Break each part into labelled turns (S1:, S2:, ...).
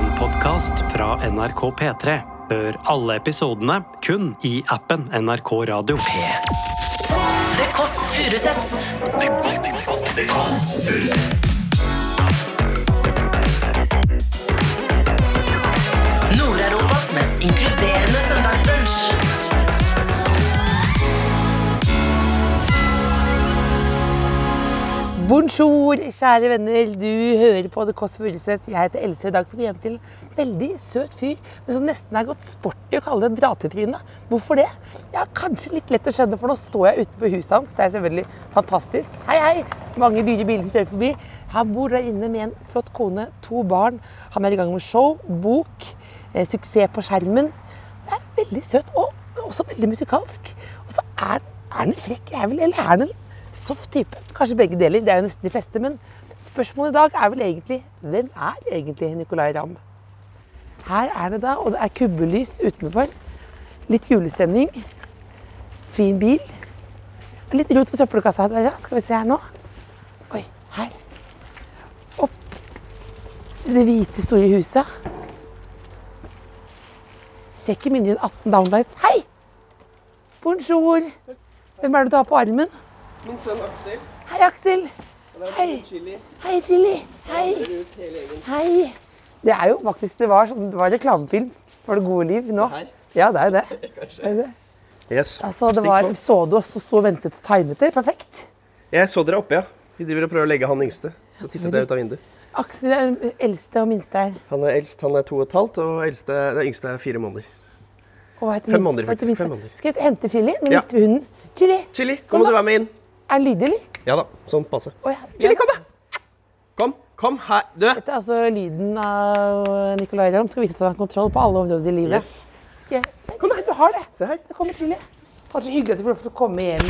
S1: podkast fra NRK P3. Hør alle episodene kun i appen NRK Radio.
S2: The Kåss Furuseths. Nord-Europas mest inkluderende søndagsbrunsch.
S3: Bonjour, kjære venner. Du hører på The Kåss Furuseth. Jeg heter Else. I dag skal vi hjem til en veldig søt fyr, men som nesten er gått sport i å kalle det dratetryne. Hvorfor det? Ja, Kanskje litt lett å skjønne, for nå står jeg utenfor huset hans. Det er selvfølgelig fantastisk. Hei, hei. Mange dyre biler som kjører forbi. Han bor der inne med en flott kone, to barn. Han er i gang med show, bok, eh, suksess på skjermen. Det er veldig søt, og også veldig musikalsk. Og så er, er han frekk, jeg vil, eller er han en soft type. Kanskje begge deler. Det er jo nesten de fleste. Men spørsmålet i dag er vel egentlig hvem er egentlig Nicolay Ramm? Her er det da, og det er kubbelys utenfor. Litt julestemning. Fin bil. Og Litt rot på søppelkassa. Der, ja. Skal vi se her nå. Oi, her. Opp til det hvite, store huset. Ser ikke mindre enn 18 downlights. Hei! Bonjour. Hvem er det du har på armen?
S4: Min sønn Aksel.
S3: Hei, Aksel. Hei.
S4: Chili.
S3: Hei, Chili. Hei.
S4: Rundt hele gjengen.
S3: Hei. Det er jo faktisk det var, sånn- det var reklamefilm for det gode liv nå.
S4: Her.
S3: Ja, det er jo det. Det er jo det.
S4: Yes.
S3: Altså, det var, så du oss som sto og ventet og timet det? Perfekt.
S4: Jeg så dere oppe, ja. Vi driver og prøver å legge han yngste. Så tittet jeg ut av vinduet.
S3: Aksel er den eldste og minste her.
S4: Han er eldst, han er to og et halvt, og eldste, den yngste er fire måneder.
S3: Og hva heter
S4: Fem
S3: minst-
S4: måneder,
S3: hva heter
S4: faktisk.
S3: minst?
S4: Fem måneder.
S3: Skal vi hente Chili? Nå
S4: Ja.
S3: mister vi hunden. Chili,
S4: Chili, nå
S3: Kom
S4: må
S3: da.
S4: du være med inn.
S3: er den lydig, eller?
S4: Ja da, sånn passe.
S3: Å, ja.
S4: Chili, kom da! Kom, kom her. Du!
S3: Dette er altså lyden av Nicolay Ramm. Skal vise at han har kontroll på alle områder i livet.
S4: Yes.
S3: Skal jeg- Kom her. Du har det.
S4: Se her.
S3: Det kommer til, ja. Faen, så hyggelig at du får lov til å komme hjem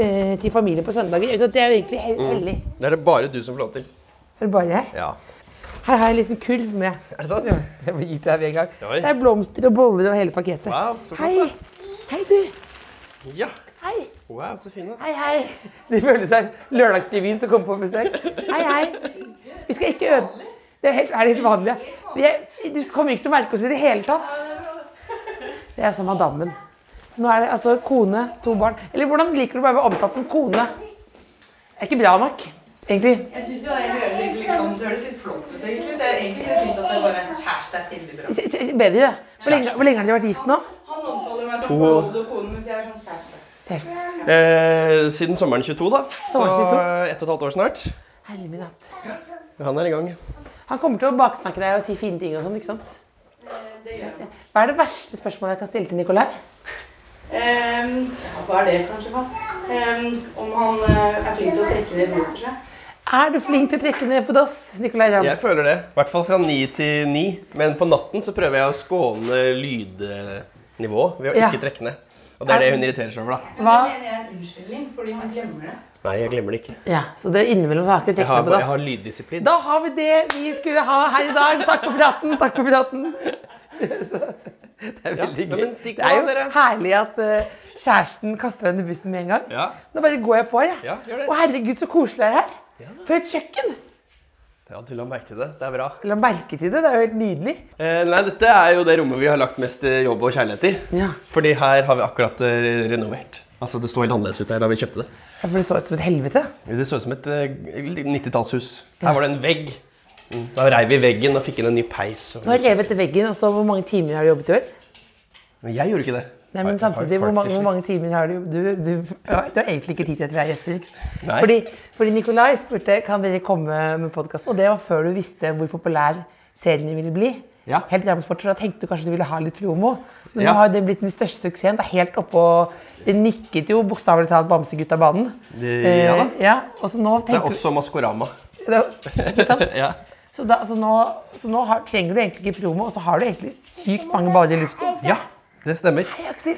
S3: eh, til familien på søndager. Jeg vet at Det er jo egentlig hel hellig.
S4: Det er det bare du som får lov til.
S3: Er det bare jeg?
S4: Mm. Ja.
S3: Her har jeg en liten kurv med.
S4: Er det sant?
S3: Ja, Jeg må gi til deg med en gang.
S4: Oi.
S3: Det er blomster og boller og hele pakketet.
S4: Wow, så flott,
S3: Hei. Hei, du.
S4: Ja.
S3: Hei.
S4: Wow, så fine.
S3: Hei, hei. Det føles som lørdagsrevyen som kommer på besøk. Hei, hei. Vi skal ikke øde... Det er helt, er helt vanlig. ja. Vi er, du kommer ikke til å merke oss i det hele tatt. Det er som madammen. Så nå er det altså kone, to barn. Eller hvordan liker du å være omtalt som kone? Det er ikke bra nok, egentlig.
S5: Jeg syns jo det høres litt, liksom, det høres litt flott ut, egentlig. Så jeg er egentlig litt fint at det bare er en kjæreste er veldig bra.
S3: K- k- Bedre det. Hvor lenge, hvor lenge har dere vært gift nå?
S5: Han omtaler meg som forlovede kone, mens jeg er sånn kjæreste.
S3: Kjæreste.
S4: Eh, siden sommeren 22, da. Så
S3: Sommeren 22.
S4: eh, ett og et halvt år snart.
S3: Herre min hatt.
S4: Han er i gang.
S3: Han kommer til å baksnakke deg og si fine ting og sånn, ikke sant?
S5: Eh,
S3: Hva er det verste spørsmålet jeg kan stille til Nicolai?
S5: Ehm, ja, hva er det, kanskje? hva? Ehm, om han eh, er flink til å trekke ned bordet for seg?
S3: Er du flink til å trekke ned på dass, Nicolai Ramm?
S4: Jeg føler det. I hvert fall fra ni til ni. Men på natten så prøver jeg å skåne lydnivået ved å
S3: Ja.
S4: ikke trekke ned. Og det er det hun irriterer seg over, da.
S5: Men
S3: Hva?
S5: det mener jeg er en unnskyldning, fordi han glemmer det.
S4: Nei, jeg glemmer det ikke.
S3: Ja, så det er innimellom har ikke
S4: Jeg
S3: trekke
S4: har,
S3: ned på
S4: jeg har
S3: dass.
S4: lyddisiplin.
S3: Da har vi det vi skulle ha her i dag. Takk for praten, takk for praten. Det er veldig
S4: Ja,
S3: gøy.
S4: men stikk
S3: det er
S4: av,
S3: jo
S4: dere.
S3: herlig at eh, kjæresten kaster deg under bussen med en gang.
S4: Ja.
S3: Nå bare går jeg på, jeg.
S4: Ja, gjør det.
S3: Å herregud, så koselig det er her. For et kjøkken!
S4: ja, du la merke til det. Det er bra.
S3: La merke til det, det er jo helt nydelig.
S4: Eh, nei, dette er jo det rommet vi har lagt mest eh, jobb og kjærlighet i.
S3: Ja.
S4: Fordi her har vi akkurat eh, renovert. Altså, det sto helt annerledes ut her da vi kjøpte det.
S3: Ja, For det så ut som et helvete.
S4: Det så ut som et eh, 90-tallshus. Her var det en vegg. Mm. Da reiv vi veggen og fikk inn en ny peis. Og...
S3: Nå har jeg revet til veggen, og så hvor mange timer har du jobbet i år?
S4: Men jeg gjorde ikke det.
S3: Nei, men
S4: Har- har
S3: samtidig, hvor
S4: folk
S3: mange,
S4: til
S3: hvor
S4: slutt?
S3: mange timer har du Du, du, ja, du har egentlig ikke tid til at vi er gjester. ikke sant?
S4: Nei.
S3: Fordi, fordi Nikolai spurte kan dere komme med podkasten, og det var før du visste hvor populær serien ville bli.
S4: Ja.
S3: Helt til jeg ble sport, så Da tenkte du kanskje du ville ha litt promo, men
S4: Ja.
S3: nå har det blitt den største suksessen. Det er helt oppå Det nikket jo bokstavelig talt Bamsegutta-banen.
S4: Det- ja da.
S3: Eh, ja, og så nå
S4: Det er
S3: tenker
S4: også Maskorama.
S3: det er- Ikke sant?
S4: Ja.
S3: Så, da, så nå, så nå har, trenger du egentlig ikke promo, og så har du egentlig sykt mange baller i luften.
S4: ja, det stemmer.
S3: Hei, Aksel.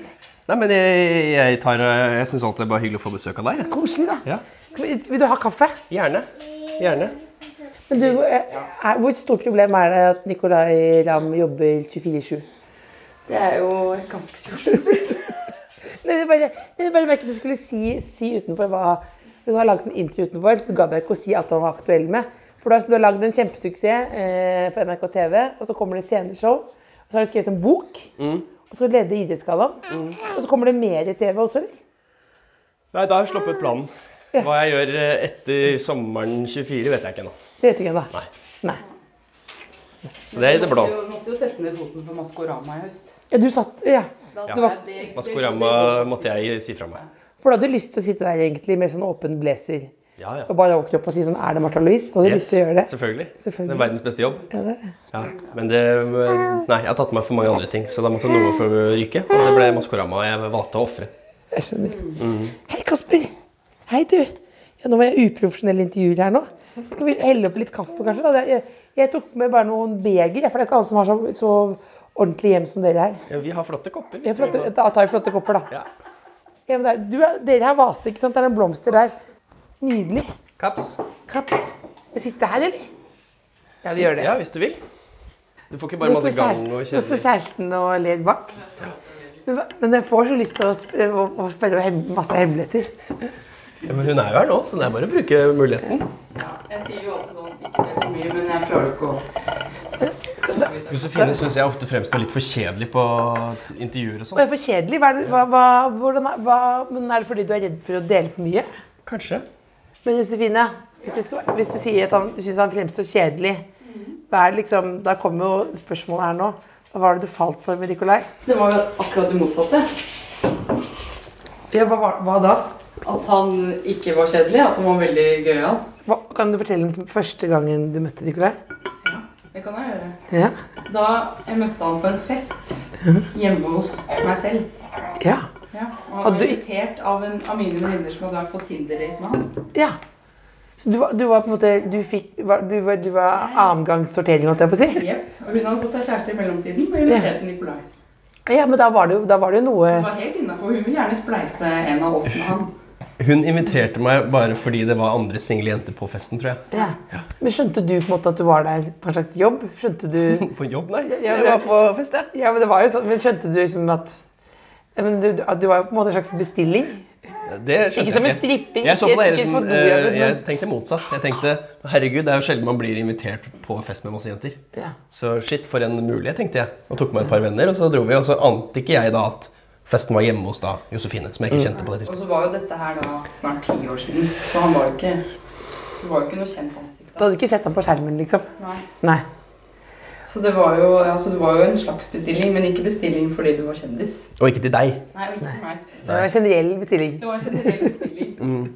S4: Nei, men jeg, jeg, tar, eh, jeg syns alltid det er bare hyggelig å få besøk av deg. jeg.
S3: Koselig, da.
S4: Ja.
S3: Skal vi- Vil du ha kaffe?
S4: Gjerne. Gjerne.
S3: Men du, eh, er, hvor stort problem er det at Nicolay Ramm jobber 24-7?
S5: Det er jo et ganske stort problem.
S3: Nei, Jeg bare, jeg bare merket at du skulle si, si utenfor hva Du har laget sånn intro utenfor, så gadd jeg ikke å si at han var aktuell med. For For du har, du har lagd en kjempesuksess eh, på NRK TV, og så kommer det sceneshow. Og så har du skrevet en bok,
S4: Mm.
S3: og så leder du Idrettsgallaen. Og så kommer det mer i TV også, eller?
S4: Nei, da har jeg sluppet planen. Hva jeg gjør eh, etter sommeren 24, vet jeg ikke ennå.
S3: Det vet du ikke ennå.
S4: Nei.
S3: Nei.
S4: Så det er i det blå.
S5: Du måtte jo sette ned foten for Maskorama i høst.
S3: Ja, du satt Ja. Du var,
S5: Det-
S4: Maskorama måtte jeg si fra meg.
S3: for du hadde lyst til å sitte der egentlig med sånn åpen blazer
S4: Ja, ja.
S3: og bare åkne opp og si sånn Er det Martha Louise? Så hadde du lyst til å gjøre det?
S4: Selvfølgelig.
S3: Selvfølgelig.
S4: Det er verdens beste jobb.
S3: Ja, det-
S4: Ja. Men det Nei, jeg har tatt meg for mange andre ting, så da måtte noe få ryke. Og det ble Maskorama jeg valgte å ofre.
S3: Jeg skjønner. Hei, Kasper. Hei, du. Ja, nå var jeg uprofesjonell intervjuer her nå. Skal vi helle opp litt kaffe, kanskje? da? Jeg, jeg tok med bare noen beger, jeg, for det er ikke alle som har så, så ordentlig hjem som dere her.
S4: Ja, vi har flotte kopper.
S3: Jeg flotte, da tar vi flotte kopper, da.
S4: Ja.
S3: Ja, men det er- du, er- dere har vase, ikke sant? Det er en blomster der. Nydelig.
S4: Kaps.
S3: Kaps. Vi sitter her, eller? Ja, vi gjør det.
S4: Ja, hvis du vil. Du får ikke bare
S3: Nå
S4: masse
S3: står
S4: gang
S3: kjæresten-
S4: og
S3: nå står
S4: kjedelig
S3: kjæresten og ler bak. Men hva- Men jeg får så lyst til å, sp- å, å spørre om hem- masse hemmeligheter.
S4: Ja, Men hun er jo her nå, så det er bare å bruke muligheten.
S5: Jeg sier jo alltid sånn Ikke det er for mye, men jeg klarer ikke å
S4: Josefine syns jeg ofte fremstår litt for kjedelig på intervjuer og
S3: Og
S4: sånn.
S3: jeg er for kjedelig. Hva er, det, hva, hva, hvordan er, hva, men er det fordi du er redd for å dele for mye?
S4: Kanskje.
S3: Men Josefine, hvis, det skal, hvis du sier at han, du syns han fremstår kjedelig, hva er det liksom, da kommer jo spørsmålet her nå. Hva var det du falt for med Nikolai?
S5: Det var jo akkurat det motsatte.
S3: Ja, hva, var- hva da?
S5: At han ikke var kjedelig, at han var veldig gøyal.
S3: Hva, kan du fortelle om første gangen du møtte Nikolai?
S5: Det kan jeg gjøre.
S3: Ja.
S5: Da jeg møtte han på en fest hjemme hos meg selv.
S3: Ja.
S5: Ja, og han
S3: Hadde
S5: var
S3: du-
S5: invitert av, en, av mine venninner som hadde vært på Tinder-date med han.
S3: ja. Så du var, du var på en måte Du fikk var- Du var, du var annengangssortering, holdt jeg på å si?
S5: Jep, Og hun hadde fått seg kjæreste i mellomtiden og inviterte Nikolai.
S3: Ja, men da var det jo, da var det jo noe
S5: Hun var helt innenfor, Hun ville gjerne spleise en av oss med han.
S4: Hun inviterte meg bare fordi det var andre single jenter på festen, tror jeg.
S3: ja. Men skjønte du på en måte at du var der på en slags jobb? Skjønte du
S4: På jobb, nei.
S3: Ja,
S4: Jeg var på fest, jeg.
S3: Ja, men det var jo sånn, men skjønte du liksom at ja, men du, at du var jo på en måte en slags bestilling?
S4: Det skjønte
S3: Ikke som en
S4: jeg
S3: stripping,
S4: Jeg, så
S3: ikke-
S4: på det hele
S3: ikke
S4: som,
S3: for god,
S4: eh,
S3: men-
S4: jeg tenkte motsatt. Jeg tenkte herregud, det er jo sjelden man blir invitert på fest med masse jenter.
S3: Ja.
S4: Så shit, for en mulighet, tenkte jeg. Og tok med et par venner, og så dro vi. Og så ante ikke jeg da at festen var hjemme hos da Josefine, som jeg ikke kjente på det
S5: Og
S4: tidspunktet.
S5: så var jo dette her da snart ti år siden, så han var jo ikke, det var jo ikke noe kjent ansikt.
S3: Du
S5: da.
S3: hadde ikke sett ham på skjermen, liksom?
S5: Nei.
S3: Nei.
S5: Så det var, jo, altså det var jo en slags bestilling, men ikke bestilling fordi du var kjendis.
S4: Og ikke til deg.
S5: Nei, og ikke til meg
S3: Det var
S5: spesielt.
S3: en generell bestilling.
S5: Det var en generell bestilling.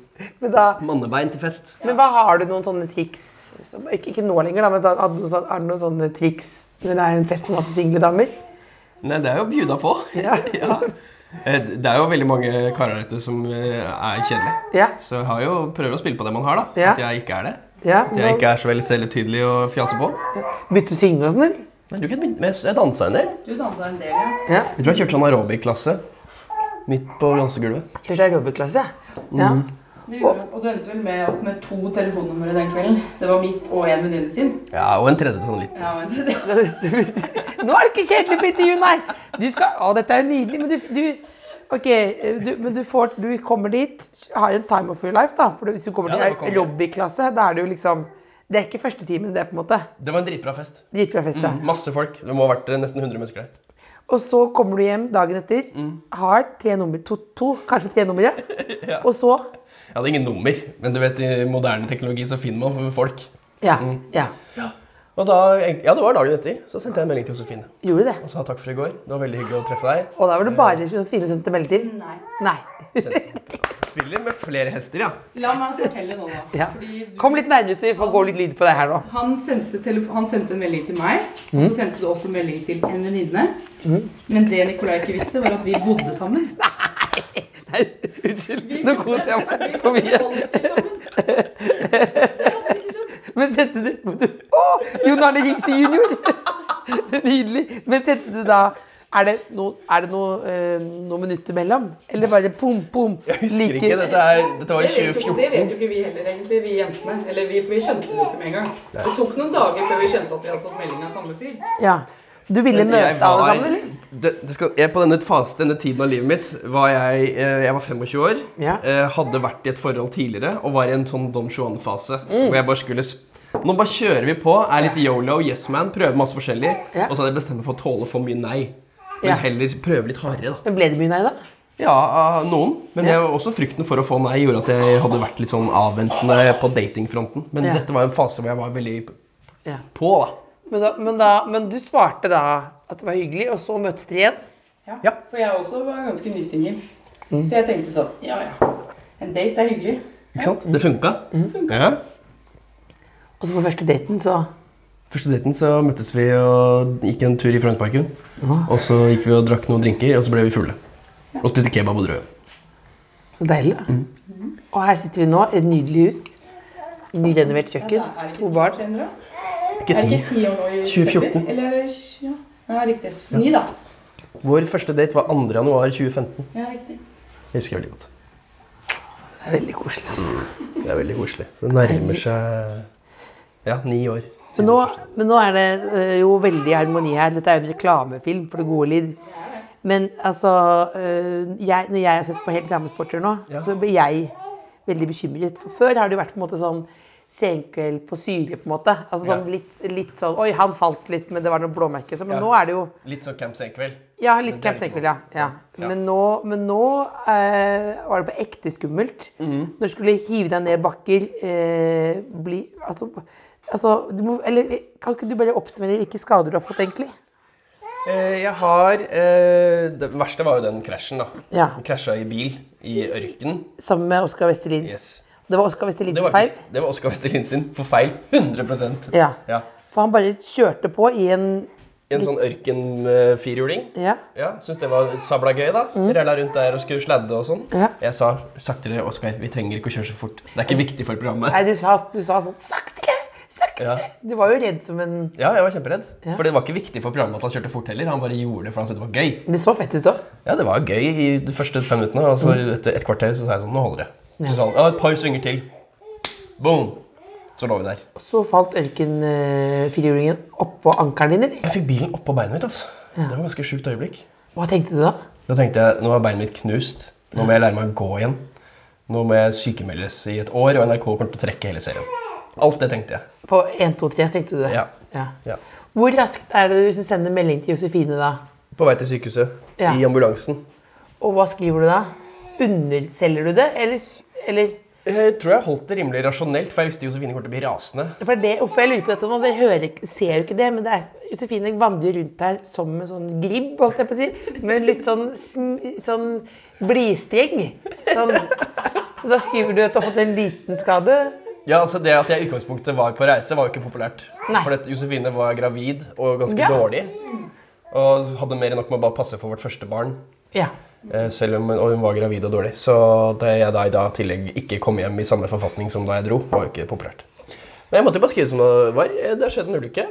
S3: Men, da,
S4: Mannebein til fest.
S3: men hva har du noen sånne triks? Som, ikke, ikke nå lenger, da, men da, har, du noen, sånn- har du noen sånne triks når det er en fest med masse single damer?
S4: Nei, det er jo bjuda på.
S3: Ja.
S4: Ja. Eh, Det er jo veldig mange karer der ute som eh, er kjedelige.
S3: Ja.
S4: Så jeg har jo prøver å spille på det man har, da.
S3: Ja.
S4: At jeg ikke er det.
S3: ja.
S4: At jeg ikke er så veldig selvhøytidelig å fjase på.
S3: Begynte å synge og sånn, eller?
S4: Nei, du kan begynne med Jeg dansa en del.
S5: Du dansa en del, ja.
S3: Ja.
S4: Jeg tror jeg kjørte sånn aerobic-klasse midt på dansegulvet.
S3: Kjørte aerobic-klasse, ja. ja.
S5: Det gjorde, og du endte vel med opp med to telefonnumre den kvelden. Det var mitt og en venninne sin.
S4: Ja, og en tredje sånn litt.
S5: Ja, men det,
S3: Nå er det ikke kjedelig på intervju, nei! Du skal, å, dette er nydelig, men du, du Ok, du, men du, får, du kommer dit, har en time of your life, da. For hvis du kommer
S4: Ja, da
S3: til
S4: kommer
S3: en
S4: du.
S3: lobbyklasse, da er det jo liksom Det er ikke første timen, det, på en måte.
S4: Det var en dritbra fest.
S3: Dritbra fest, ja.
S4: Masse folk. Det må ha vært eh, nesten 100 mennesker der.
S3: Og så kommer du hjem dagen etter,
S4: Mm.
S3: har tre nummer, to, to kanskje tre numre. Og så
S4: Jeg hadde ingen nummer, men du vet, i moderne teknologi så finner man folk.
S3: Ja.
S4: Mm.
S3: ja.
S4: Og da, ja, det var dagen etter, så sendte jeg en melding til Josefine
S3: Gjorde det.
S4: og sa takk for i går. Det var veldig hyggelig å treffe deg.
S3: Og da var det bare Josefine som sendte melding til?
S5: nei.
S3: Nei.
S4: Spiller med flere hester, ja.
S5: La meg fortelle nå, da.
S3: Ja.
S5: Fordi du,
S3: Kom litt nærmere, så vi får gå litt lyd på det her nå.
S5: han, sendte telefo- han sendte en melding til meg, og
S3: Mm.
S5: så sendte du også en melding til en venninne. Men det Nicolai ikke visste, var at vi bodde sammen.
S3: Nei, unnskyld. Nå koser jeg meg for
S5: Vi bodde
S3: mye.
S5: kollektivt sammen. Det hadde jeg ikke skjønt.
S3: Men sendte du, du Å! Jon Arne Rikse jr. Nydelig. Men sendte du da Er det noe, er det noe, eh, noen minutter mellom? Eller bare pom, pom?
S4: Jeg husker ikke. Dette, er, dette var i
S5: Det vet, jo,
S4: 2014.
S5: det vet jo ikke vi heller, egentlig, vi jentene. Eller vi, for vi skjønte det jo ikke med en gang. Det tok noen dager før vi skjønte at vi hadde fått melding av samme fyr.
S3: Ja. Du ville
S4: Jeg
S3: møte alle
S4: var-
S3: sammen, eller?
S4: Det, det skal, jeg, på denne fasen, denne tiden av livet mitt, var jeg, eh, jeg var 25 år.
S3: Ja. Mm.
S4: eh, Hadde vært i et forhold tidligere og var i en sånn Don Juan-fase. Hvor jeg bare skulle sp- Nå bare kjører vi på, er litt yolo, yes man, prøver masse forskjellig.
S3: Ja.
S4: Og så hadde jeg bestemt meg for å tåle for mye nei.
S3: Ja.
S4: Men heller prøve litt hardere, da.
S3: Men ble det mye nei, da?
S4: Ja, av noen. Men jeg, også frykten for å få nei gjorde at jeg hadde vært litt sånn avventende på datingfronten. Men
S3: Ja.
S4: dette var en fase hvor jeg var veldig
S3: Ja.
S4: på, da.
S3: Men, da, men, da, men du svarte da at det var hyggelig, og så møttes dere igjen?
S5: Ja.
S4: Ja.
S5: For jeg også var ganske nysingel.
S3: Mm.
S5: Så jeg tenkte sånn Ja ja, en date er hyggelig.
S4: Ikke sant? Det funka.
S3: Mm.
S4: Ja.
S3: Og så på første daten, så
S4: Første daten så møttes vi og gikk en tur i Frognerparken. Og så gikk vi og drakk noen drinker, og så ble vi fulle. Og spiste kebab og brød.
S3: Så deilig. da.
S4: Mm.
S3: Og her sitter vi nå, i et nydelig hus. Nyrenovert kjøkken, to barn.
S5: Skjønner du?
S4: Ikke
S5: Er det
S4: ti.
S5: ikke ti år nå i
S4: 2014.
S5: september? Eller er det tj- ja. ja, riktig. Ni, da.
S4: Vår første date var 2. januar 2015.
S5: Ja, riktig.
S4: Jeg husker veldig godt.
S3: Det er veldig koselig. altså.
S4: Det er veldig koselig. Så det nærmer seg ja, ni år.
S3: Men nå, men nå er det eh, jo veldig harmoni her. Dette er jo en reklamefilm for det gode liv. Men altså eh, jeg, Når jeg har sett på helt reklamesporter nå, så blir jeg veldig bekymret. For før har det jo vært på en måte sånn senkveld på syre, på en måte. Altså sånn
S4: Ja.
S3: litt, litt sånn Oi, han falt litt, men det var noe blåmerke. Så, men
S4: Ja.
S3: nå er det jo
S4: Litt sånn Camp Senkveld.
S3: Ja, litt
S4: Det er
S3: Camp
S4: ikke
S3: Senkveld, ja.
S4: noe.
S3: ja.
S4: Ja.
S3: Men nå, men nå eh, var det på ekte skummelt.
S4: Mhm.
S3: Når du skulle hive deg ned bakker eh, bli, altså, altså, du må, eller, Kan ikke du bare oppsummere hvilke skader du har fått, egentlig?
S4: Eh, Jeg har eh, Det verste var jo den krasjen, da.
S3: Ja.
S4: Jeg Krasja i bil i ørkenen.
S3: Sammen med Oskar Vestelin.
S4: Yes.
S3: Det var Oskar Vestelin
S4: Det
S3: sin
S4: var,
S3: feil.
S4: ikke- det var Oskar Vestelin sin. For feil. 100
S3: Ja.
S4: Ja.
S3: For han bare kjørte på i en
S4: En sånn ørkenfirhjuling.
S3: Ja.
S4: Ja, Syns det var sabla gøy, da. Rella rundt der og skulle sladde og sånn.
S3: Mm. Ja.
S4: Jeg sa saktere, Oskar. Vi trenger ikke å kjøre så fort. Det er ikke viktig for programmet.
S3: Nei, du sa, du sa sånn Sakte! Sakte!
S4: Ja.
S3: Du var jo redd som en
S4: Ja, jeg var kjemperedd.
S3: Ja.
S4: For det var ikke viktig for programmet at han kjørte fort heller. Han bare gjorde det for han syntes det var gøy.
S3: Det så fett ut òg.
S4: Ja, det var gøy i de første fem minuttene, og så etter et kvarter så sa jeg sånn, nå holder det. Så sa han, Mm. ja, et par svinger til. Boom! Så lå vi der.
S3: Så falt eh, ørkenfirhjulingen oppå ankelen din, eller?
S4: Jeg fikk bilen oppå beinet mitt, altså. Det var et ganske sjukt øyeblikk.
S3: Hva tenkte du da?
S4: Da tenkte jeg, nå er beinet mitt knust. Nå må jeg lære meg å gå igjen. Nå må jeg sykemeldes i et år, og NRK kommer til å trekke hele serien. Alt det tenkte jeg.
S3: På 1, 2, 3, tenkte du det?
S4: Ja. Ja.
S3: Hvor raskt er det du som sender melding til Josefine da?
S4: På vei til sykehuset,
S3: Ja.
S4: i ambulansen.
S3: Og hva skriver du da? Underselger du det, eller, eller
S4: Jeg tror jeg holdt det rimelig rasjonelt, for jeg visste Josefine kommer til å bli rasende.
S3: For det, hvorfor jeg lurer på dette nå, det hører, ikke- ser jo ikke det, men det er, Josefine vandrer rundt her som en sånn gribb, holdt jeg på å si, med litt sånn, sm- sånn blistreng. Sånn. Så da skriver du at du har fått en liten skade.
S4: Ja, altså Det at jeg i utgangspunktet var på reise, var jo ikke populært.
S3: Nei.
S4: For at Josefine var gravid og ganske
S3: Ja.
S4: dårlig. Og hadde mer enn nok med å bare passe for vårt første barn.
S3: Ja.
S4: eh, Selv om og hun var gravid og dårlig. Så da jeg da i dag i tillegg ikke kom hjem i samme forfatning som da jeg dro, var jo ikke populært. Men jeg måtte jo bare skrive som det var. Eh, Det har skjedd en ulykke.